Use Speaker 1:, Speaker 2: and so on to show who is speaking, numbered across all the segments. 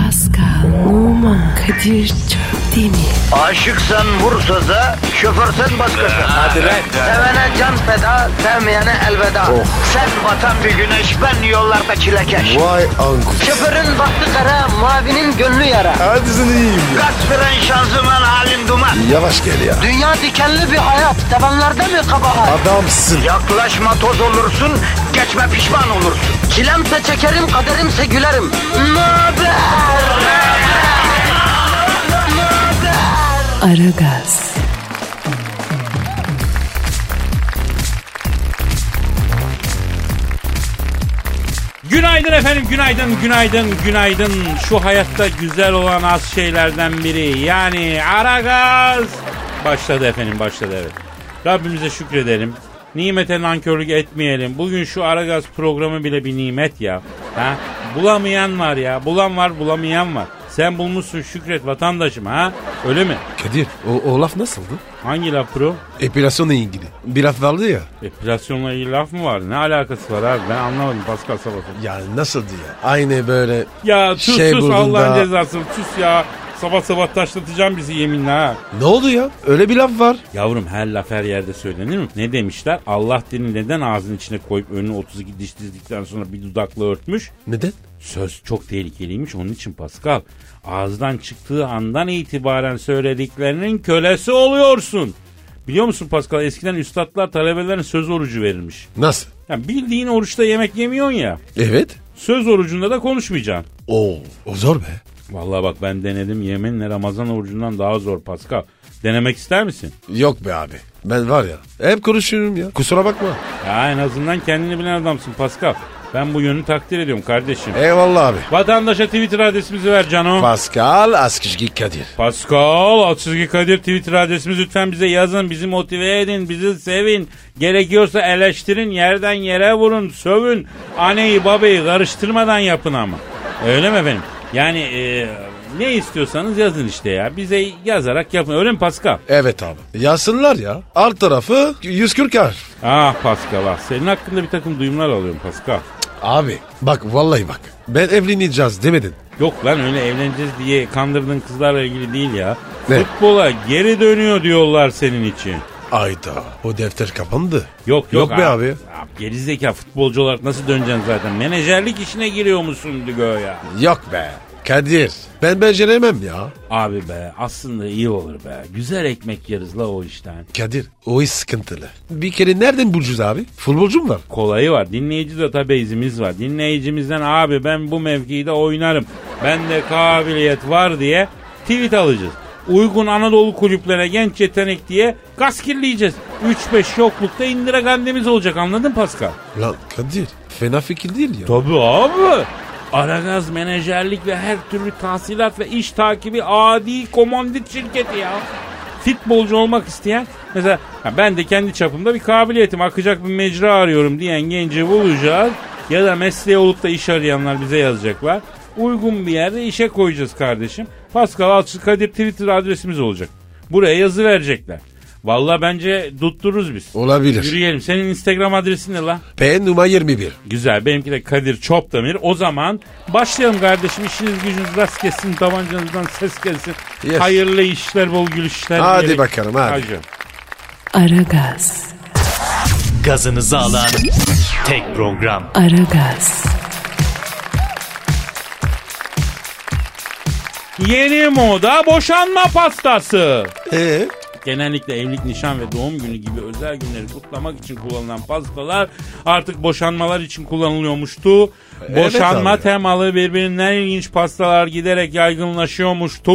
Speaker 1: Pascal, Oman, Kadir çok değil mi?
Speaker 2: Aşıksan vursa da şoförsen başkasın.
Speaker 3: Hadi lan.
Speaker 2: Sevene can feda, sevmeyene elveda. Sen batan bir güneş, ben yollarda çilekeş.
Speaker 4: Vay anku.
Speaker 2: Şoförün baktı kara, mavinin gönlü yara.
Speaker 4: Hadi sen iyiyim ya.
Speaker 2: Kasperen şanzıman halin duman.
Speaker 4: Yavaş gel ya.
Speaker 2: Dünya dikenli bir hayat, sevenlerde mi kabahar?
Speaker 4: Adamsın.
Speaker 2: Yaklaşma toz olursun, geçme pişman olursun. Çilemse çekerim, kaderimse gülerim. Möber!
Speaker 1: Aragaz,
Speaker 3: Günaydın efendim, günaydın, günaydın, günaydın. Şu hayatta güzel olan az şeylerden biri. Yani ara gaz. Başladı efendim, başladı evet. Rabbimize şükredelim. Nimete nankörlük etmeyelim. Bugün şu Aragaz programı bile bir nimet ya. Ha? Bulamayan var ya. Bulan var, bulamayan var. Sen bulmuşsun şükret vatandaşım ha. Öyle mi?
Speaker 4: Kadir o, o laf nasıldı?
Speaker 3: Hangi laf pro?
Speaker 4: Epilasyonla ilgili. Bir laf vardı ya.
Speaker 3: Epilasyonla ilgili laf mı var? Ne alakası var abi? Ben anlamadım Pascal Sabah'ın.
Speaker 4: Yani nasıldı ya? Aynı böyle
Speaker 3: Ya sus
Speaker 4: Şey
Speaker 3: sus
Speaker 4: buldun
Speaker 3: Allah'ın
Speaker 4: da.
Speaker 3: cezası sus ya. Sabah sabah taşlatacağım bizi yeminle ha.
Speaker 4: Ne oldu ya? Öyle bir laf var.
Speaker 3: Yavrum her laf her yerde söylenir mi? Ne demişler? Allah dini neden ağzının içine koyup önüne 32 diş dizdikten sonra bir dudakla örtmüş?
Speaker 4: Neden?
Speaker 3: Söz çok tehlikeliymiş onun için Pascal. Ağızdan çıktığı andan itibaren söylediklerinin kölesi oluyorsun. Biliyor musun Pascal eskiden üstadlar talebelerine söz orucu verilmiş.
Speaker 4: Nasıl?
Speaker 3: Ya bildiğin oruçta yemek yemiyorsun ya.
Speaker 4: Evet.
Speaker 3: Söz orucunda da konuşmayacaksın.
Speaker 4: Oo, o zor be.
Speaker 3: Vallahi bak ben denedim yeminle Ramazan orucundan daha zor Pascal. Denemek ister misin?
Speaker 4: Yok be abi. Ben var ya hep konuşuyorum ya. Kusura bakma.
Speaker 3: Ya en azından kendini bilen adamsın Pascal. Ben bu yönü takdir ediyorum kardeşim.
Speaker 4: Eyvallah abi.
Speaker 3: Vatandaşa Twitter adresimizi ver Cano.
Speaker 4: Pascal Askışki Kadir.
Speaker 3: Pascal Atsızgi Kadir Twitter adresimiz lütfen bize yazın. Bizi motive edin. Bizi sevin. Gerekiyorsa eleştirin. Yerden yere vurun. Sövün. Aneyi babayı karıştırmadan yapın ama. Öyle mi efendim? Yani e, ne istiyorsanız yazın işte ya. Bize yazarak yapın. Öyle mi Pascal?
Speaker 4: Evet abi. Yazsınlar ya. Alt tarafı 140 harf.
Speaker 3: Ah Pascal ah. Senin hakkında bir takım duyumlar alıyorum Pascal.
Speaker 4: Abi bak vallahi bak. Ben evleneceğiz demedin.
Speaker 3: Yok lan öyle evleneceğiz diye kandırdığın kızlarla ilgili değil ya.
Speaker 4: Ne?
Speaker 3: Futbola geri dönüyor diyorlar senin için.
Speaker 4: Ayda o defter kapandı.
Speaker 3: Yok yok.
Speaker 4: Yok be abi.
Speaker 3: Gerizekalı futbolcu olarak nasıl döneceksin zaten? Menajerlik işine giriyor musun ya?
Speaker 4: Yok be. Kadir ben beceremem ya.
Speaker 3: Abi be aslında iyi olur be. Güzel ekmek yeriz la o işten.
Speaker 4: Kadir o iş sıkıntılı. Bir kere nereden bulacağız abi? Futbolcu mu var?
Speaker 3: Kolayı var. Dinleyici database'imiz var. Dinleyicimizden abi ben bu mevkide oynarım. Bende kabiliyet var diye tweet alacağız. Uygun Anadolu kulüplere genç yetenek diye gaz kirleyeceğiz. 3-5 yoklukta indire gandemiz olacak anladın Pascal?
Speaker 4: Lan Kadir fena fikir değil ya.
Speaker 3: Tabii abi. Aragaz menajerlik ve her türlü tahsilat ve iş takibi adi komandit şirketi ya. Futbolcu olmak isteyen mesela ha, ben de kendi çapımda bir kabiliyetim akacak bir mecra arıyorum diyen genci bulacağız. Ya da mesleği olup da iş arayanlar bize yazacaklar. Uygun bir yerde işe koyacağız kardeşim. Pascal Alçı Kadir Twitter adresimiz olacak. Buraya yazı verecekler. Valla bence tuttururuz biz.
Speaker 4: Olabilir.
Speaker 3: Yürüyelim. Senin Instagram adresin ne la?
Speaker 4: P numara 21.
Speaker 3: Güzel. Benimki de Kadir Çopdemir. O zaman başlayalım kardeşim. İşiniz gücünüz rast gelsin. Tabancanızdan ses gelsin.
Speaker 4: Yes.
Speaker 3: Hayırlı işler, bol gülüşler.
Speaker 4: Hadi
Speaker 3: diyelim.
Speaker 4: bakalım, hadi.
Speaker 3: Hacı.
Speaker 1: Aragaz,
Speaker 5: Gazınızı alan tek program.
Speaker 1: Aragaz,
Speaker 3: Yeni moda boşanma pastası.
Speaker 4: Ee?
Speaker 3: Genellikle evlilik, nişan ve doğum günü gibi özel günleri kutlamak için kullanılan pastalar artık boşanmalar için kullanılıyormuştu. Boşanma
Speaker 4: abi.
Speaker 3: temalı birbirinden ilginç pastalar giderek yaygınlaşıyormuştu.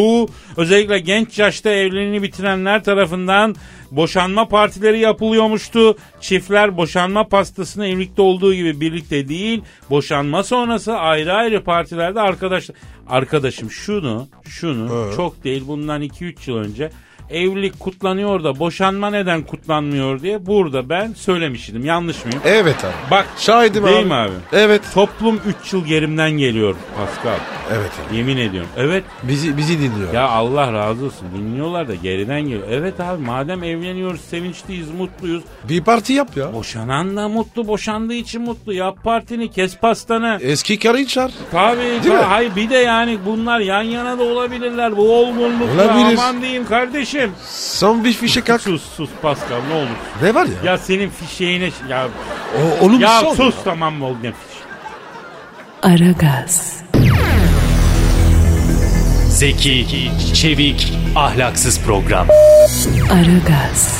Speaker 3: Özellikle genç yaşta evliliğini bitirenler tarafından boşanma partileri yapılıyormuştu. Çiftler boşanma pastasını evlilikte olduğu gibi birlikte değil, boşanma sonrası ayrı ayrı partilerde arkadaş arkadaşım şunu, şunu çok değil bundan 2-3 yıl önce Evlilik kutlanıyor da boşanma neden kutlanmıyor diye burada ben söylemiş idim. Yanlış mıyım?
Speaker 4: Evet abi.
Speaker 3: Bak
Speaker 4: Şahidim
Speaker 3: değil
Speaker 4: abi.
Speaker 3: mi abi?
Speaker 4: Evet.
Speaker 3: Toplum 3 yıl gerimden geliyor Pascal.
Speaker 4: Evet abi.
Speaker 3: Yemin ediyorum. Evet
Speaker 4: Bizi, bizi dinliyor.
Speaker 3: ya Allah razı olsun dinliyorlar da geriden geliyor. Evet abi madem evleniyoruz sevinçliyiz mutluyuz.
Speaker 4: Bir parti yap ya.
Speaker 3: Boşanan da mutlu boşandığı için mutlu. Yap partini kes pastanı.
Speaker 4: Eski karı çağır.
Speaker 3: Tabii.
Speaker 4: E, Değil mi?
Speaker 3: tabii. Hayır bir de yani bunlar yan yana da olabilirler. Bu olgunlukla
Speaker 4: Olabilir.
Speaker 3: aman diyeyim kardeşim.
Speaker 4: Son bir fişe kalk.
Speaker 3: Sus sus Pascal ne olur.
Speaker 4: Ne var ya?
Speaker 3: Ya senin fişeğine ya,
Speaker 4: O, onun şey
Speaker 3: ya
Speaker 4: son.
Speaker 3: sus tamam mı oldu ne fiş?
Speaker 1: Aragaz,
Speaker 5: Zeki, çevik, ahlaksız program.
Speaker 1: Aragaz,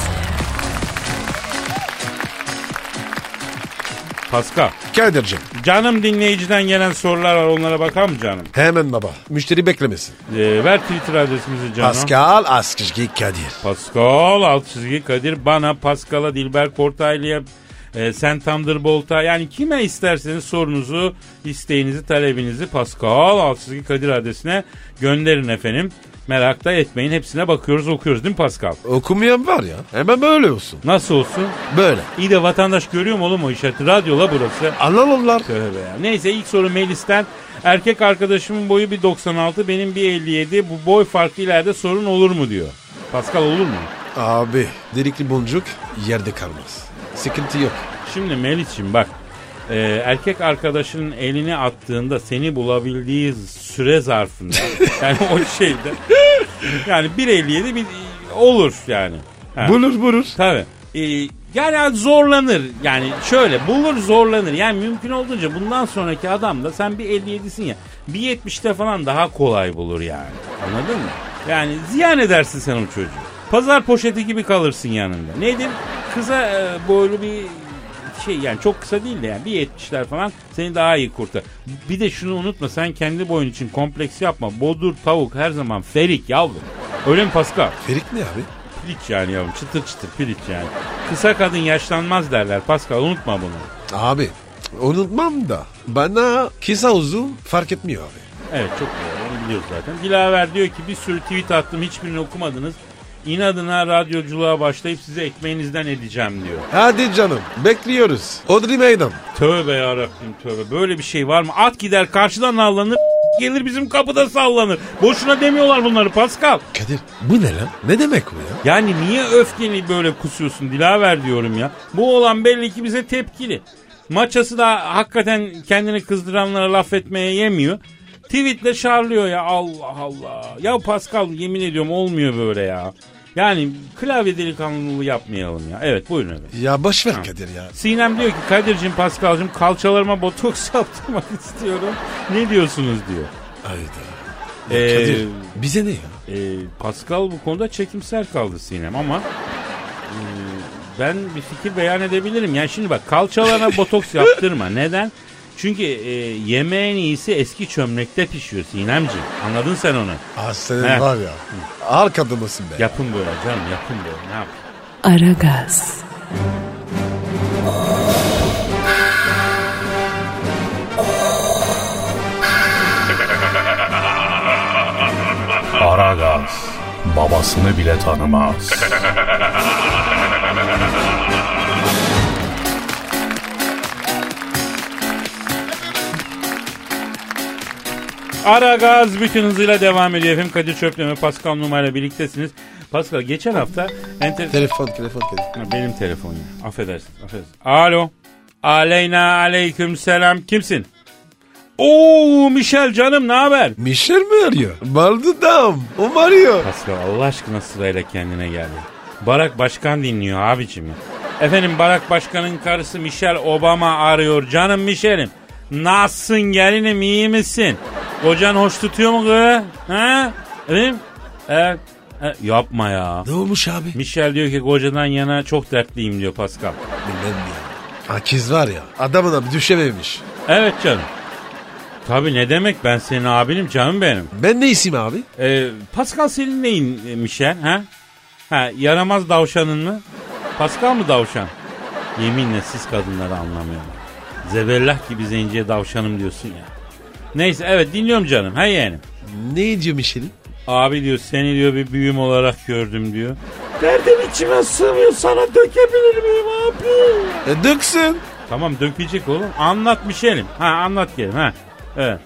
Speaker 3: Pascal
Speaker 4: Kadir'cim.
Speaker 3: canım dinleyiciden gelen sorular var onlara bakar mı canım?
Speaker 4: Hemen baba. Müşteri beklemesin.
Speaker 3: Ee, ver Twitter adresimizi canım.
Speaker 4: Pascal Askışki Kadir.
Speaker 3: Pascal alt çizgi Kadir bana Pascal'a Dilber Kortaylı'ya e, sen Thunderbolt'a yani kime isterseniz sorunuzu, isteğinizi, talebinizi Pascal alt çizgi Kadir adresine gönderin efendim. Merak da etmeyin hepsine bakıyoruz okuyoruz değil mi Pascal?
Speaker 4: Okumayan var ya. Hemen böyle olsun.
Speaker 3: Nasıl olsun?
Speaker 4: Böyle.
Speaker 3: İyi de vatandaş görüyor mu oğlum o işareti? Radyo la burası.
Speaker 4: Anlarlar.
Speaker 3: Tövbe ya. Neyse ilk soru Melis'ten. Erkek arkadaşımın boyu bir 96 benim bir 57 bu boy farkı ileride sorun olur mu diyor. Pascal olur mu?
Speaker 4: Abi delikli boncuk yerde kalmaz. Sıkıntı yok.
Speaker 3: Şimdi Melis'ciğim bak e, erkek arkadaşının elini attığında seni bulabildiği süre zarfında yani o şeyde yani 1.57 bir olur yani. Ha,
Speaker 4: Bulur bulur.
Speaker 3: Tabii. E, yani az zorlanır yani şöyle bulur zorlanır yani mümkün olduğunca bundan sonraki adam da sen bir 57'sin ya bir 70'te falan daha kolay bulur yani anladın mı? Yani ziyan edersin sen o çocuğu. Pazar poşeti gibi kalırsın yanında. Nedir? Kısa e, boylu bir şey yani çok kısa değil de yani bir 70'ler falan seni daha iyi kurtar. Bir de şunu unutma sen kendi boyun için kompleks yapma. Bodur tavuk her zaman ferik yavrum. Öyle mi Pascal?
Speaker 4: Ferik ne abi?
Speaker 3: Piliç yani yavrum çıtır çıtır piliç yani. Kısa kadın yaşlanmaz derler Pascal unutma bunu.
Speaker 4: Abi unutmam da bana kısa uzun fark etmiyor abi.
Speaker 3: Evet çok doğru onu biliyoruz zaten. Dilaver diyor ki bir sürü tweet attım hiçbirini okumadınız. İnadına radyoculuğa başlayıp size ekmeğinizden edeceğim diyor.
Speaker 4: Hadi canım bekliyoruz. Odri meydan.
Speaker 3: Tövbe yarabbim tövbe. Böyle bir şey var mı? At gider karşıdan avlanır. Gelir bizim kapıda sallanır. Boşuna demiyorlar bunları Pascal.
Speaker 4: Kadir bu ne lan? Ne demek bu ya?
Speaker 3: Yani niye öfkeni böyle kusuyorsun Dilaver diyorum ya. Bu olan belli ki bize tepkili. Maçası da hakikaten kendini kızdıranlara laf etmeye yemiyor. Tweetle şarlıyor ya Allah Allah. Ya Pascal yemin ediyorum olmuyor böyle ya. Yani klavye delikanlılığı yapmayalım ya. Evet buyurun efendim.
Speaker 4: Ya boş ver Kadir ya.
Speaker 3: Sinem diyor ki Kadir'cim Paskal'cım kalçalarıma botoks yaptırmak istiyorum. Ne diyorsunuz diyor.
Speaker 4: Hayda.
Speaker 3: Ee,
Speaker 4: Kadir bize ne ya?
Speaker 3: Ee, Pascal bu konuda çekimser kaldı Sinem ama e, ben bir fikir beyan edebilirim. Yani şimdi bak kalçalarına botoks yaptırma. Neden? Çünkü e, yemeğin iyisi eski çömlekte pişiyor Sinemciğim. Anladın sen onu.
Speaker 4: Ah senin
Speaker 3: He.
Speaker 4: var ya. Ağır kadınısın be.
Speaker 3: Yapın böyle canım yapın böyle. Ne yapayım?
Speaker 1: Aragaz,
Speaker 6: Aragaz babasını bile tanımaz.
Speaker 3: Ara gaz bütün hızıyla devam ediyor efendim. Kadir Çöplem'e Pascal numarayla birliktesiniz. Pascal geçen hafta enter...
Speaker 4: Telefon telefon Kadir.
Speaker 3: Ha, Benim telefon ya. Affedersin, affedersin. Alo. Aleyna aleyküm selam. Kimsin? Oo Michel canım ne haber?
Speaker 4: Michel mi arıyor? Baldudam. O arıyor.
Speaker 3: Pascal Allah aşkına sırayla kendine geldi. Barak Başkan dinliyor abicim ya. Efendim Barak Başkan'ın karısı Michelle Obama arıyor. Canım Michelle'im. Nasılsın gelinim iyi misin? Kocan hoş tutuyor mu kız? Ha? Efendim? Evet. E, yapma ya.
Speaker 4: Ne olmuş abi?
Speaker 3: Michelle diyor ki kocadan yana çok dertliyim diyor Pascal.
Speaker 4: Bilmem ya. Akiz var ya adamına bir düşememiş.
Speaker 3: Evet canım. Tabii ne demek ben senin abinim canım benim.
Speaker 4: Ben ne isim abi?
Speaker 3: Ee, Pascal senin neyin e, Michel ha? Ha yaramaz davşanın mı? Pascal mı davşan? Yeminle siz kadınları anlamıyorum. Zebellah gibi zenciye davşanım diyorsun ya. Neyse evet dinliyorum canım. Ha yeğenim.
Speaker 4: Ne diyor Michel'in?
Speaker 3: Abi diyor seni diyor bir büyüm olarak gördüm diyor.
Speaker 7: Nereden içime sığmıyor sana dökebilir miyim abi?
Speaker 4: E döksün.
Speaker 3: Tamam dökülecek oğlum. Anlat bir şeyim. Ha anlat gelin ha. Evet.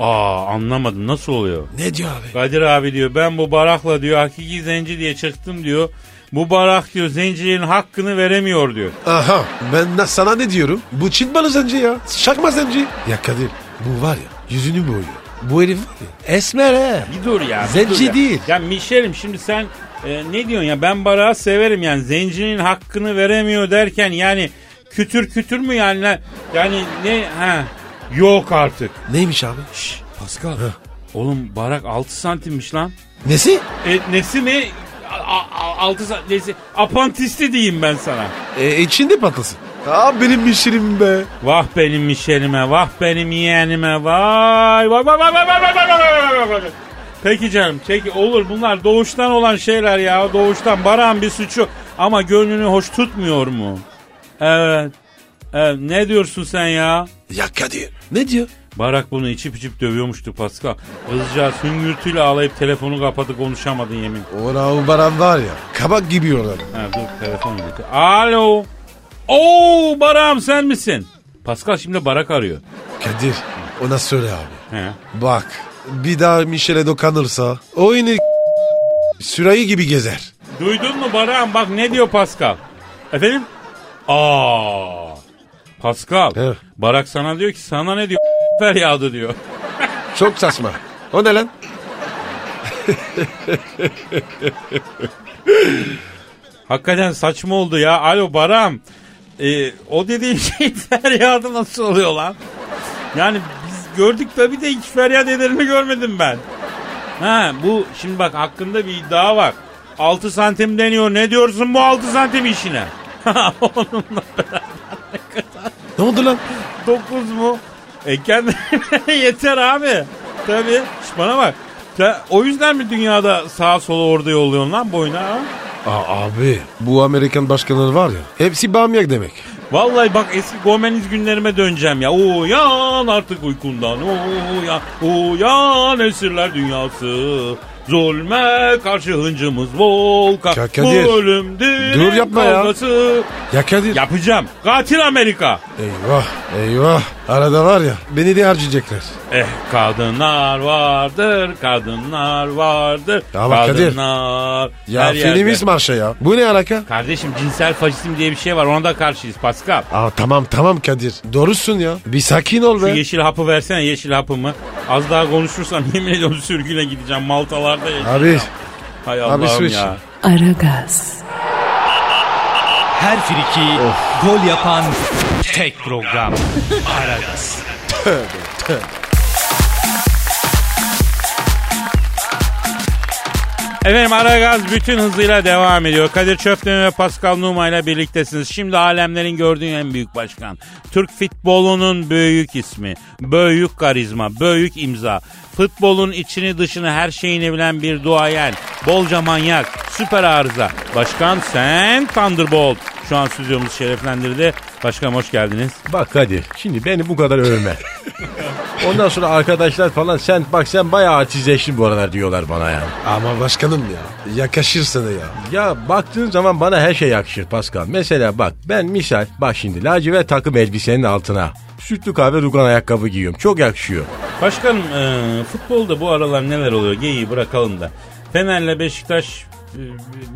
Speaker 3: Aa anlamadım nasıl oluyor?
Speaker 4: Ne diyor abi?
Speaker 3: Kadir abi diyor ben bu barakla diyor hakiki zenci diye çıktım diyor. Bu barak diyor zencinin hakkını veremiyor diyor.
Speaker 4: Aha ben na- sana ne diyorum? Bu Çin balı zenci ya. Şakma zenci. Ya Kadir bu var ya yüzünü boyuyor. Bu herif var ya, esmer he.
Speaker 3: Bir dur ya. bir
Speaker 4: Zenci
Speaker 3: dur ya.
Speaker 4: değil.
Speaker 3: Ya Mişelim şimdi sen e, ne diyorsun ya ben barağı severim yani zencinin hakkını veremiyor derken yani kütür kütür mü yani lan? yani ne ha yok artık.
Speaker 4: Neymiş abi?
Speaker 3: Şş,
Speaker 4: Pascal.
Speaker 3: oğlum barak 6 santimmiş lan.
Speaker 4: Nesi?
Speaker 3: E, nesi ne? A- a- Altı sa- nesi? Apantisti diyeyim ben sana.
Speaker 4: E, içinde patlasın. Aa benim bir şirin be.
Speaker 3: Vah benim Mişelime, vah benim yeğenime, vay vay vay vay vay vay vay vay vay vay vay vay vay. Peki canım, peki olur bunlar doğuştan olan şeyler ya, doğuştan. Baran bir suçu ama gönlünü hoş tutmuyor mu? Evet. Evet, ne diyorsun sen ya?
Speaker 4: Ya Kadir. Ne diyor?
Speaker 3: Barak bunu içip içip dövüyormuştu Pascal. Kızcağız hüngürtüyle ağlayıp telefonu kapadı konuşamadın yemin.
Speaker 4: Ora o baran var ya. Kabak gibi oradan.
Speaker 3: Ha dur telefon gitti. Alo. Oo Barak'ım sen misin? Pascal şimdi Barak arıyor.
Speaker 4: Kadir ona söyle abi.
Speaker 3: He.
Speaker 4: Bak bir daha Michel'e dokanırsa o yine sürahi gibi gezer.
Speaker 3: Duydun mu Barak'ım bak ne diyor Pascal. Efendim? Aa. Pascal.
Speaker 4: He.
Speaker 3: Barak sana diyor ki sana ne diyor? Feryadı diyor.
Speaker 4: Çok saçma. O ne lan?
Speaker 3: Hakikaten saçma oldu ya. Alo Barak'ım. Ee, o dediğin şey feryadı nasıl oluyor lan? Yani biz gördük tabii de hiç feryat edileni görmedim ben. Ha bu şimdi bak hakkında bir iddia var. 6 santim deniyor. Ne diyorsun bu 6 santim işine? Onunla
Speaker 4: Ne oldu lan?
Speaker 3: 9 mu? E kendine yeter abi. Tabii. Şş, bana bak. Sen o yüzden mi dünyada sağa sola orada yolluyorsun lan boyuna? ha?
Speaker 4: Aa, abi bu Amerikan başkanları var ya hepsi bamyak demek.
Speaker 3: Vallahi bak eski Gomeniz günlerime döneceğim ya. Uyan artık uykundan. Uyan, uyan esirler dünyası. Zulme karşı hıncımız volkan.
Speaker 4: Ya Kadir,
Speaker 3: Bu ölüm direk
Speaker 4: dur yapma ya.
Speaker 3: kavgası.
Speaker 4: Ya Kadir.
Speaker 3: Yapacağım. Katil Amerika.
Speaker 4: Eyvah eyvah. Arada var ya beni de harcayacaklar.
Speaker 3: Eh kadınlar vardır, kadınlar vardır.
Speaker 4: Ya bak Kadir.
Speaker 3: kadınlar.
Speaker 4: Ya
Speaker 3: her yerde.
Speaker 4: feminist marşa ya. Bu ne alaka?
Speaker 3: Kardeşim cinsel faşizm diye bir şey var ona da karşıyız Pascal.
Speaker 4: Aa tamam tamam Kadir. Doğrusun ya. Bir sakin ol
Speaker 3: Şu
Speaker 4: be.
Speaker 3: yeşil hapı versene yeşil hapımı. Az daha konuşursam yemin ediyorum sürgüne gideceğim. Maltalarda yaşayacağım.
Speaker 4: Abi
Speaker 3: Hay
Speaker 4: abi su
Speaker 3: Allah'ım
Speaker 4: için.
Speaker 3: ya.
Speaker 1: Aragaz,
Speaker 5: Her friki gol yapan tek program. Aragaz.
Speaker 3: Efendim Aragaz bütün hızıyla devam ediyor. Kadir Çöpten ve Pascal Numa ile birliktesiniz. Şimdi alemlerin gördüğü en büyük başkan. Türk futbolunun büyük ismi. Büyük karizma, büyük imza. Futbolun içini dışını her şeyini bilen bir duayen. Bolca manyak, süper arıza. Başkan sen Thunderbolt. Şu an stüdyomuz şereflendirdi. Başkanım hoş geldiniz.
Speaker 8: Bak Kadir şimdi beni bu kadar övme. Ondan sonra arkadaşlar falan sen bak sen bayağı artistleştin bu aralar diyorlar bana ya.
Speaker 4: Ama başkanım ya. Yakışır sana ya.
Speaker 8: Ya baktığın zaman bana her şey yakışır Pascal. Mesela bak ben misal bak şimdi lacivert takım elbisenin altına sütlü kahve rugan ayakkabı giyiyorum. Çok yakışıyor.
Speaker 3: Başkanım e, futbolda bu aralar neler oluyor? Geyiği bırakalım da. Fener'le Beşiktaş e,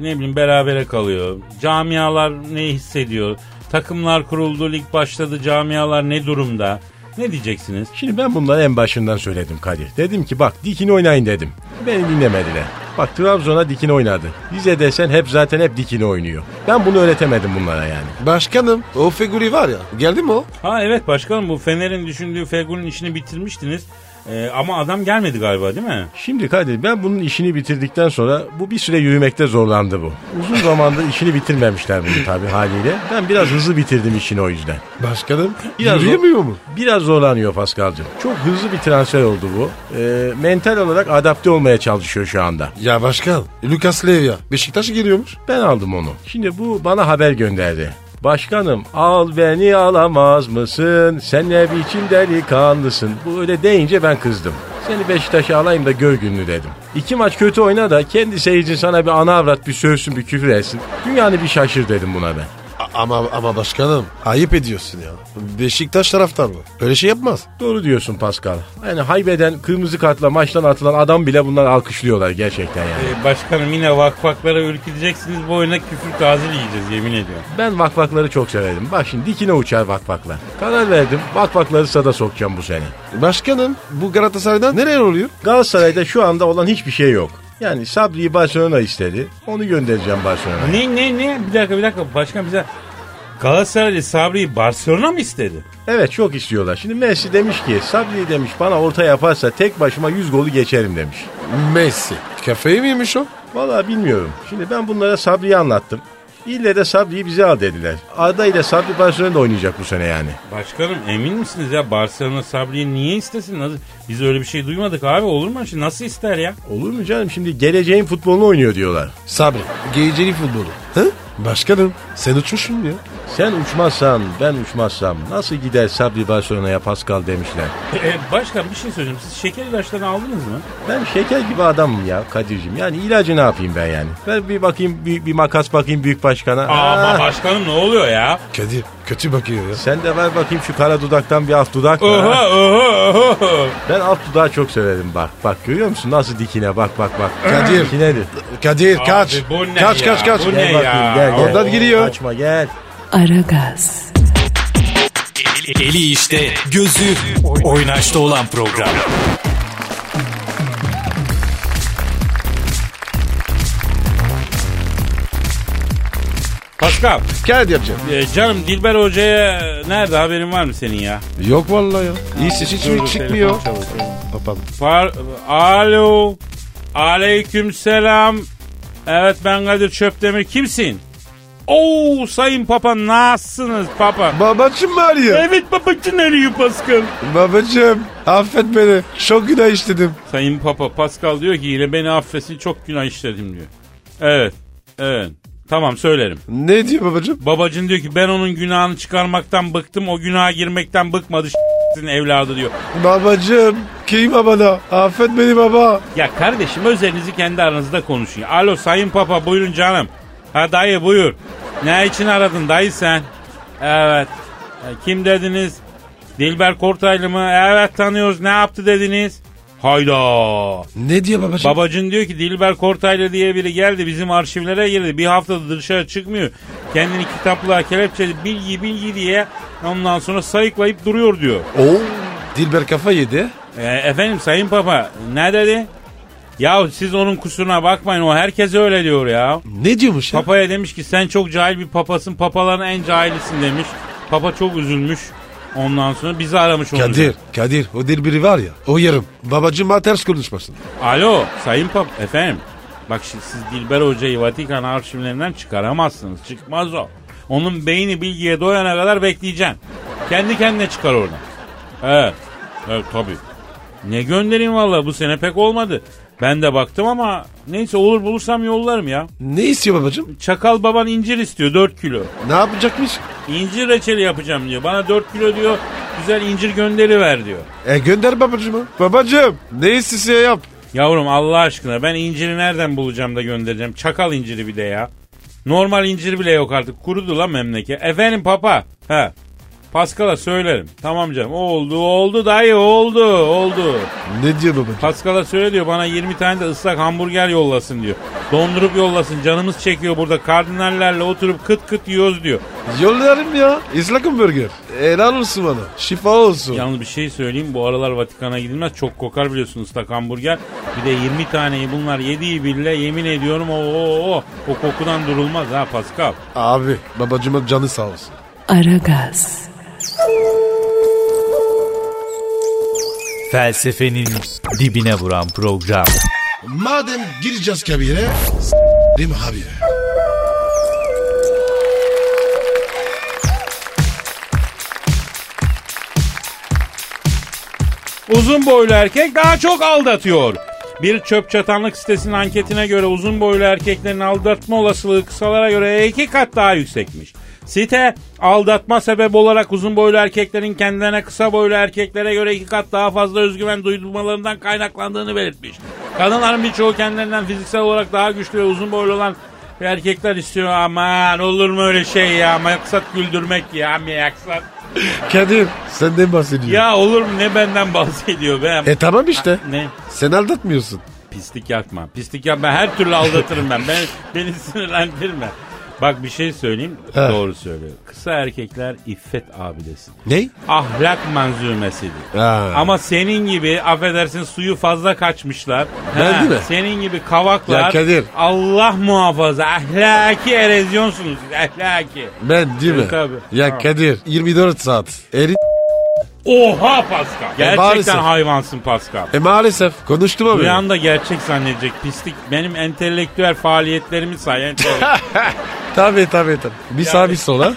Speaker 3: ne bileyim berabere kalıyor. Camialar ne hissediyor? Takımlar kuruldu, lig başladı. Camialar ne durumda? Ne diyeceksiniz?
Speaker 8: Şimdi ben bunları en başından söyledim Kadir. Dedim ki bak dikini oynayın dedim. Beni dinlemediler. Bak Trabzon'a dikini oynadı. Bize desen hep zaten hep dikini oynuyor. Ben bunu öğretemedim bunlara yani.
Speaker 4: Başkanım o figürü var ya. Geldi mi o?
Speaker 3: Ha evet başkanım bu Fener'in düşündüğü Fegül'ün işini bitirmiştiniz. E, ama adam gelmedi galiba değil mi?
Speaker 8: Şimdi Kadir ben bunun işini bitirdikten sonra bu bir süre yürümekte zorlandı bu. Uzun zamandır işini bitirmemişler bunu tabii haliyle. Ben biraz hızlı bitirdim işini o yüzden.
Speaker 4: Başkanım
Speaker 8: Biraz
Speaker 4: yürüyemiyor mu?
Speaker 8: Biraz zorlanıyor Paskal'cığım. Çok hızlı bir transfer oldu bu. Ee, mental olarak adapte olmaya çalışıyor şu anda.
Speaker 4: Ya başkan Lucas Levya Beşiktaş'a geliyormuş.
Speaker 8: Ben aldım onu. Şimdi bu bana haber gönderdi. Başkanım al beni alamaz mısın? Sen ne biçim delikanlısın? Bu öyle deyince ben kızdım. Seni Beşiktaş'a alayım da gör gününü dedim. İki maç kötü oyna da kendi seyircin sana bir ana avrat bir sövsün bir küfür etsin. Dünyanı bir şaşır dedim buna ben.
Speaker 4: A- ama ama başkanım ayıp ediyorsun ya. Beşiktaş taraftarı. Böyle şey yapmaz.
Speaker 8: Doğru diyorsun Pascal. Yani haybeden kırmızı kartla maçtan atılan adam bile bunlar alkışlıyorlar gerçekten yani.
Speaker 3: Ee, başkanım yine vakfaklara ürküteceksiniz bu oyuna küfür tazil yiyeceğiz yemin ediyorum.
Speaker 8: Ben vakvakları çok severim. Bak şimdi dikine uçar vakvaklar. Karar verdim vakvakları sada sokacağım bu sene.
Speaker 4: Başkanım bu Galatasaray'dan nereye oluyor?
Speaker 8: Galatasaray'da şu anda olan hiçbir şey yok. Yani Sabri'yi Barcelona istedi. Onu göndereceğim Barcelona'ya.
Speaker 3: Ne ne ne bir dakika bir dakika başkan bize Galatasaraylı Sabri'yi Barcelona mı istedi?
Speaker 8: Evet çok istiyorlar. Şimdi Messi demiş ki Sabri demiş bana orta yaparsa tek başıma 100 golü geçerim demiş.
Speaker 4: Messi. Kafayı mı yemiş o?
Speaker 8: Vallahi bilmiyorum. Şimdi ben bunlara Sabri'yi anlattım. İlle de Sabri'yi bize al dediler. Arda ile Sabri Barcelona'da oynayacak bu sene yani.
Speaker 3: Başkanım emin misiniz ya Barcelona Sabri'yi niye istesin? Nasıl? Biz öyle bir şey duymadık abi olur mu? Şimdi nasıl ister ya?
Speaker 8: Olur mu canım şimdi geleceğin futbolunu oynuyor diyorlar.
Speaker 4: Sabri. Geceli futbolu. Hı? Başkanım sen uçmuşsun ya.
Speaker 8: Sen uçmazsan ben uçmazsam nasıl gider Sabri Barcelona'ya Pascal demişler.
Speaker 3: E, başkan bir şey söyleyeceğim. Siz şeker ilaçlarını aldınız mı?
Speaker 8: Ben şeker gibi adamım ya Kadir'cim. Yani ilacı ne yapayım ben yani? Ver bir bakayım büyük bir makas bakayım büyük başkana.
Speaker 3: Aa,
Speaker 8: Aa,
Speaker 3: başkanım ne oluyor ya?
Speaker 4: Kadir kötü bakıyor ya.
Speaker 8: Sen de ver bakayım şu kara dudaktan bir alt dudak. ver.
Speaker 3: Oha oha oha.
Speaker 8: Ben alt dudağı çok severim bak. Bak görüyor musun nasıl dikine bak bak bak.
Speaker 4: Kadir.
Speaker 8: Dikinedir.
Speaker 4: Kadir
Speaker 3: Abi,
Speaker 4: kaç.
Speaker 3: bu ne
Speaker 4: kaç,
Speaker 3: ya?
Speaker 4: kaç kaç
Speaker 3: Bu
Speaker 8: Gel
Speaker 3: ne ya?
Speaker 8: bakayım gel gel.
Speaker 4: Oradan giriyor.
Speaker 8: Açma gel.
Speaker 1: Aragaz,
Speaker 5: Eli işte, gözü oynaşta olan program.
Speaker 3: Pascal,
Speaker 4: Kadir'cim.
Speaker 3: e, canım Dilber Hoca'ya nerede haberin var mı senin ya?
Speaker 4: Yok vallahi ya. İyi ses hiç mi
Speaker 3: Dur,
Speaker 4: çıkmıyor?
Speaker 3: telefon çalıyor. şey
Speaker 4: Kapalı.
Speaker 3: Par- Alo. Aleyküm selam. Evet ben Kadir Çöpdemir. Kimsin? Oo sayın papa nasılsınız papa?
Speaker 4: Babacım mı arıyor?
Speaker 3: Evet babacın arıyor Pascal.
Speaker 4: Babacım affet beni. Çok günah işledim.
Speaker 3: Sayın papa Pascal diyor ki yine beni affetsin çok günah işledim diyor. Evet. Evet. Tamam söylerim.
Speaker 4: Ne diyor babacım?
Speaker 3: Babacın diyor ki ben onun günahını çıkarmaktan bıktım. O günaha girmekten bıkmadı s**tin evladı diyor.
Speaker 4: Babacım kıyma bana. Affet beni baba.
Speaker 3: Ya kardeşim özelinizi kendi aranızda konuşun. Alo sayın papa buyurun canım. Ha dayı buyur. Ne için aradın dayı sen? Evet. E, Kim dediniz? Dilber Kortaylı mı? Evet tanıyoruz ne yaptı dediniz? Hayda.
Speaker 4: Ne diyor babacım?
Speaker 3: Babacın diyor ki Dilber Kortaylı diye biri geldi bizim arşivlere girdi. Bir haftadır dışarı çıkmıyor. Kendini kitaplığa kelepçeli bilgi bilgi diye ondan sonra sayıklayıp duruyor diyor.
Speaker 4: Oo. Dilber kafa yedi.
Speaker 3: E, efendim Sayın Papa ne dedi? Ya siz onun kusuruna bakmayın o herkes öyle diyor ya.
Speaker 4: Ne diyormuş ya?
Speaker 3: Papaya demiş ki sen çok cahil bir papasın papaların en cahilisin demiş. Papa çok üzülmüş. Ondan sonra bizi aramış onu.
Speaker 4: Kadir, Kadir o Dilber'i var ya o yarım. Babacım bana ters konuşmasın.
Speaker 3: Alo Sayın Papa efendim. Bak şimdi siz Dilber Hoca'yı Vatikan arşivlerinden çıkaramazsınız. Çıkmaz o. Onun beyni bilgiye doyana kadar bekleyeceğim. Kendi kendine çıkar oradan. Evet. Evet tabii. Ne göndereyim valla bu sene pek olmadı. Ben de baktım ama neyse olur bulursam yollarım ya.
Speaker 4: Ne istiyor babacım?
Speaker 3: Çakal baban incir istiyor 4 kilo.
Speaker 4: Ne yapacakmış?
Speaker 3: İncir reçeli yapacağım diyor. Bana 4 kilo diyor güzel incir gönderiver diyor.
Speaker 4: E gönder babacımı. Babacım ne istiyorsa yap.
Speaker 3: Yavrum Allah aşkına ben inciri nereden bulacağım da göndereceğim. Çakal inciri bir de ya. Normal incir bile yok artık. Kurudu lan memleket. Efendim papa. He. Paskal'a söylerim. Tamam canım. Oldu oldu dayı oldu oldu.
Speaker 4: Ne diyor babacım?
Speaker 3: Paskal'a söyle diyor bana 20 tane de ıslak hamburger yollasın diyor. Dondurup yollasın canımız çekiyor burada. Kardinallerle oturup kıt kıt yiyoruz diyor.
Speaker 4: Yollarım ya. İslak hamburger. Helal olsun bana. Şifa olsun.
Speaker 3: Yalnız bir şey söyleyeyim bu aralar Vatikan'a gidilmez çok kokar biliyorsunuz ıslak hamburger. Bir de 20 taneyi bunlar yediği bile yemin ediyorum o o o o kokudan durulmaz ha Pascal.
Speaker 4: Abi babacıma canı sağ olsun.
Speaker 1: Aragaz,
Speaker 5: Felsefenin dibine vuran program.
Speaker 4: Madem gireceğiz kabire. Değil mi abi?
Speaker 3: Uzun boylu erkek daha çok aldatıyor. Bir çöp çatanlık sitesinin anketine göre uzun boylu erkeklerin aldatma olasılığı kısalara göre iki kat daha yüksekmiş. Site aldatma sebep olarak uzun boylu erkeklerin kendilerine kısa boylu erkeklere göre iki kat daha fazla özgüven duymalarından kaynaklandığını belirtmiş. Kadınların birçoğu kendilerinden fiziksel olarak daha güçlü ve uzun boylu olan erkekler istiyor. Aman olur mu öyle şey ya maksat güldürmek ya maksat.
Speaker 4: Kadir senden bahsediyorum.
Speaker 3: Ya olur mu ne benden bahsediyor be.
Speaker 4: E tamam işte.
Speaker 3: Ne?
Speaker 4: Sen aldatmıyorsun.
Speaker 3: Pislik yapma. Pislik yapma. Ben her türlü aldatırım ben. ben beni sinirlendirme. Bak bir şey söyleyeyim.
Speaker 4: He.
Speaker 3: Doğru söylüyor. Kısa erkekler iffet abidesi.
Speaker 4: Ne?
Speaker 3: Ahlak manzumesidir.
Speaker 4: Ha.
Speaker 3: Ama senin gibi affedersin suyu fazla kaçmışlar.
Speaker 4: Ben
Speaker 3: Ha,
Speaker 4: değil mi?
Speaker 3: Senin gibi kavaklar.
Speaker 4: Ya Kadir.
Speaker 3: Allah muhafaza. Ahlaki erozyonsunuz. siz, Ahlaki.
Speaker 4: Ben değil mi?
Speaker 3: E, tabii.
Speaker 4: Ya
Speaker 3: Tamam.
Speaker 4: Kadir 24 saat. Eri...
Speaker 3: Oha Pascal. Gerçekten
Speaker 4: maalesef.
Speaker 3: hayvansın Pascal.
Speaker 4: E maalesef konuştum abi.
Speaker 3: Duyan da gerçek zannedecek pislik. Benim entelektüel faaliyetlerimi sayende.
Speaker 4: Tabii tabii tabii. Bir sağ bir sola.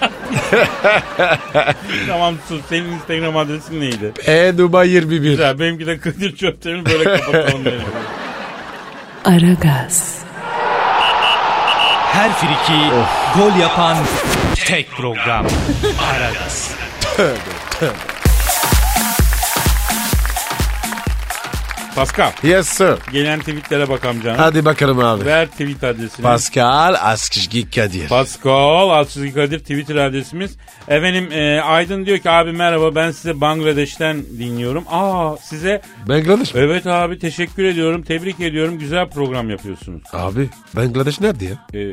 Speaker 3: tamam sus. Senin Instagram adresin neydi?
Speaker 4: E Dubai 21.
Speaker 3: Güzel. Benimki de Kadir Çöptemir böyle kapatalım. derim.
Speaker 1: Aragaz,
Speaker 5: Her friki gol yapan tek program. Aragaz.
Speaker 3: Pascal.
Speaker 4: Yes sir.
Speaker 3: Gelen tweetlere bak amcana.
Speaker 4: Hadi bakalım abi.
Speaker 3: Ver tweet adresini.
Speaker 4: Pascal Askışgi Kadir.
Speaker 3: Pascal Altçizgi Kadir Twitter adresimiz. Efendim e, Aydın diyor ki abi merhaba ben size Bangladeş'ten dinliyorum. Aa size
Speaker 4: Bangladeş mi?
Speaker 3: evet abi teşekkür ediyorum tebrik ediyorum güzel program yapıyorsunuz.
Speaker 4: Abi Bangladeş nerede ya?
Speaker 3: E,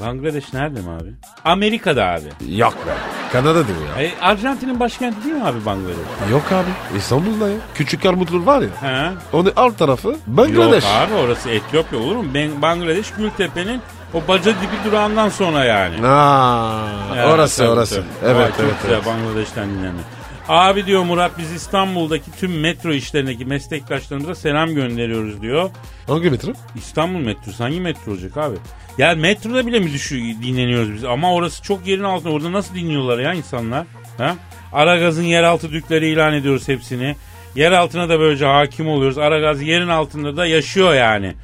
Speaker 3: Bangladeş nerede mi abi? Amerika'da abi.
Speaker 4: Yok be. Kanada değil mi ya?
Speaker 3: E, Arjantin'in başkenti değil mi abi Bangladeş?
Speaker 4: Yok abi. İstanbul'da ya. Küçük Armutlu var ya.
Speaker 3: He?
Speaker 4: Onun alt tarafı
Speaker 3: Yok
Speaker 4: Bangladeş.
Speaker 3: abi orası Etiyopya olur mu? Ben, Bangladeş Gültepe'nin o baca dibi durağından sonra yani.
Speaker 4: Aa,
Speaker 3: Yani
Speaker 4: orası
Speaker 3: tabii,
Speaker 4: orası.
Speaker 3: tabii. Vay,
Speaker 4: Evet
Speaker 3: çok
Speaker 4: evet.
Speaker 3: güzel,
Speaker 4: evet.
Speaker 3: Bangladeş'ten dinlenmek. Abi diyor Murat biz İstanbul'daki tüm metro işlerindeki meslektaşlarımıza selam gönderiyoruz diyor.
Speaker 4: Hangi metre?
Speaker 3: İstanbul metrosu hangi metro olacak abi? Ya metroda bile mi düşü dinleniyoruz biz? Ama orası çok yerin altında. Orada nasıl dinliyorlar ya insanlar? Ha? Aragaz'ın yeraltı dükleri ilan ediyoruz hepsini. Yer altına da böylece hakim oluyoruz. Aragaz yerin altında da yaşıyor yani.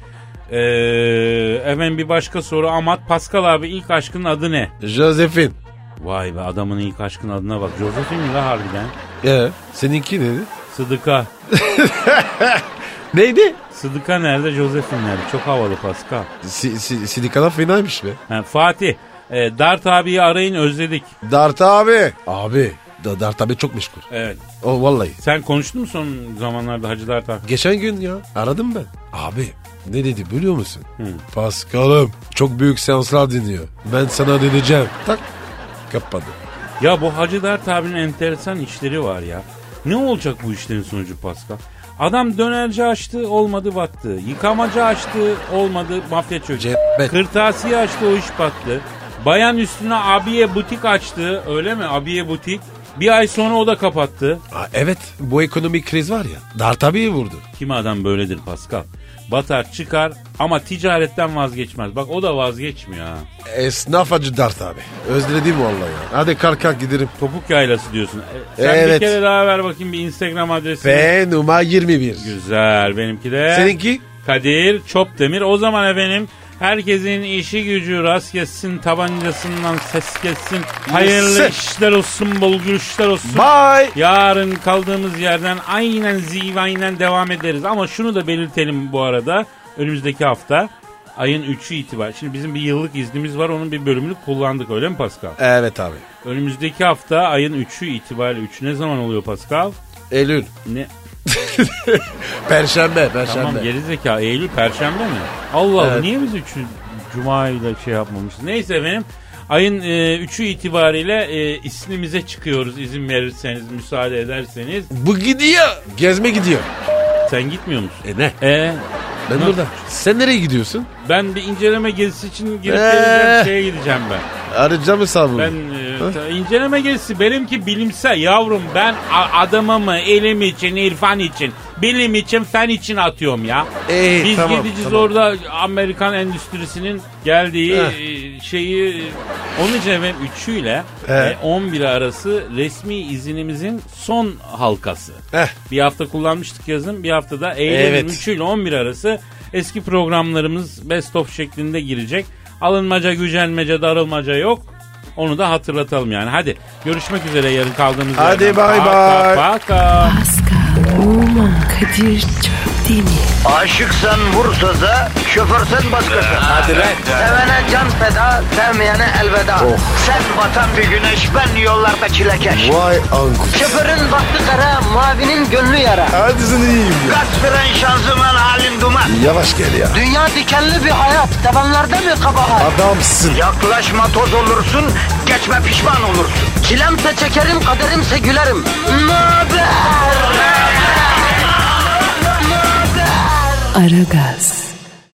Speaker 3: Ee, efendim bir başka soru. Amat Pascal abi ilk aşkının adı ne?
Speaker 4: Josephine.
Speaker 3: Vay be adamın ilk aşkın adına bak. Josephine mi la harbiden?
Speaker 4: Ee, seninki neydi?
Speaker 3: Sıdıka.
Speaker 4: Neydi?
Speaker 3: Sıdıka nerede? Josephine nerede? Çok havalı Pascal.
Speaker 4: Si, si, Sidika'da fenaymış be.
Speaker 3: Ha, Fatih. e, Dart abiyi arayın özledik.
Speaker 4: Dart abi. Abi. Da, Dart abi çok meşgul.
Speaker 3: Evet.
Speaker 4: O vallahi.
Speaker 3: Sen konuştun mu son zamanlarda Hacı Dert abi?
Speaker 4: Geçen gün ya aradım ben. Abi ne dedi biliyor musun? Paskal'ım çok büyük seanslar dinliyor. Ben sana döneceğim. Tak kapadı.
Speaker 3: Ya bu Hacı Dert abinin enteresan işleri var ya. Ne olacak bu işlerin sonucu Pascal? Adam dönerci açtı olmadı battı. Yıkamacı açtı olmadı mafya çöktü.
Speaker 4: Cebbet.
Speaker 3: Kırtasiye açtı o iş battı. Bayan üstüne abiye butik açtı öyle mi abiye butik. Bir ay sonra o da kapattı.
Speaker 4: Aa, evet bu ekonomik kriz var ya. Dart abi vurdu.
Speaker 3: Kimi adam böyledir Pascal. Batar çıkar ama ticaretten vazgeçmez. Bak o da vazgeçmiyor ha.
Speaker 4: Esnaf acı Dart abi. Özledim vallahi ya. Hadi kalk kalk gidelim.
Speaker 3: Topuk yaylası diyorsun. E, sen
Speaker 4: Evet.
Speaker 3: bir kere daha ver bakayım bir Instagram adresini.
Speaker 4: Ve numara 21.
Speaker 3: Güzel benimki de.
Speaker 4: Seninki?
Speaker 3: Kadir Çopdemir. O zaman efendim herkesin işi gücü rast gelsin, tabancasından ses gelsin. Hayırlı
Speaker 4: Yes.
Speaker 3: işler olsun, bol gülüşler olsun.
Speaker 4: Bye.
Speaker 3: Yarın kaldığımız yerden aynen zivaynen devam ederiz. Ama şunu da belirtelim bu arada. Önümüzdeki hafta ayın 3'ü itibar. Şimdi bizim bir yıllık iznimiz var. Onun bir bölümünü kullandık öyle mi Pascal?
Speaker 4: Evet abi.
Speaker 3: Önümüzdeki hafta ayın 3'ü itibariyle 3 ne zaman oluyor Pascal?
Speaker 4: Eylül.
Speaker 3: Ne?
Speaker 4: Perşembe, perşembe.
Speaker 3: Tamam gerizekalı Eylül Perşembe mi? Allah Allah
Speaker 4: Evet.
Speaker 3: niye biz 3'ü Cuma ile şey yapmamışız? Neyse efendim ayın 3'ü itibariyle e, ismimize çıkıyoruz izin verirseniz müsaade ederseniz.
Speaker 4: Bu gidiyor. Gezme gidiyor.
Speaker 3: Sen gitmiyor musun?
Speaker 4: E ne?
Speaker 3: E
Speaker 4: Ben
Speaker 3: Ne?
Speaker 4: burada. Sen nereye gidiyorsun?
Speaker 3: ben bir inceleme gezisi için girip
Speaker 4: Ee.
Speaker 3: geleceğim şeye gideceğim ben.
Speaker 4: Arayacağım hesabımı.
Speaker 3: Ben e, ta- inceleme gezisi benimki bilimsel yavrum ben a- adamımı elim için irfan için bilim için fen için atıyorum ya.
Speaker 4: İyi,
Speaker 3: Biz
Speaker 4: tamam,
Speaker 3: gideceğiz
Speaker 4: tamam.
Speaker 3: orada Amerikan endüstrisinin geldiği e, şeyi e, onun için efendim üçüyle
Speaker 4: Evet.
Speaker 3: e, 11 arası resmi izinimizin son halkası.
Speaker 4: Heh.
Speaker 3: Bir hafta kullanmıştık yazın bir haftada Eylül'ün
Speaker 4: Evet.
Speaker 3: 3'ü ile 11 arası eski programlarımız best of şeklinde girecek. Alınmaca, gücenmece, darılmaca yok. Onu da hatırlatalım yani. Hadi görüşmek üzere yarın kaldığımız
Speaker 4: Hadi
Speaker 3: yerden.
Speaker 4: bay
Speaker 3: Paka,
Speaker 4: bay.
Speaker 3: paka.
Speaker 1: Pascal, Oman, Kadir çok değil mi?
Speaker 2: Aşıksan vursa da, şoförsen başkasın. Ee, Hadi lan. Oh. Sevene can feda, sevmeyene elveda. Sen batan bir güneş, ben yollarda çilekeş.
Speaker 4: Vay anku.
Speaker 2: Şoförün baktı kara, mavinin gönlü yara.
Speaker 4: Hadi sen iyiyim ya.
Speaker 2: Kasperen şanzıman halin duman.
Speaker 4: Yavaş gel ya.
Speaker 2: Dünya dikenli bir hayat, sevenlerde mi kabahar?
Speaker 4: Adamsın.
Speaker 2: Yaklaşma toz olursun, geçme pişman olursun. Çilemse çekerim, kaderimse gülerim. Möber!
Speaker 1: Aragaz.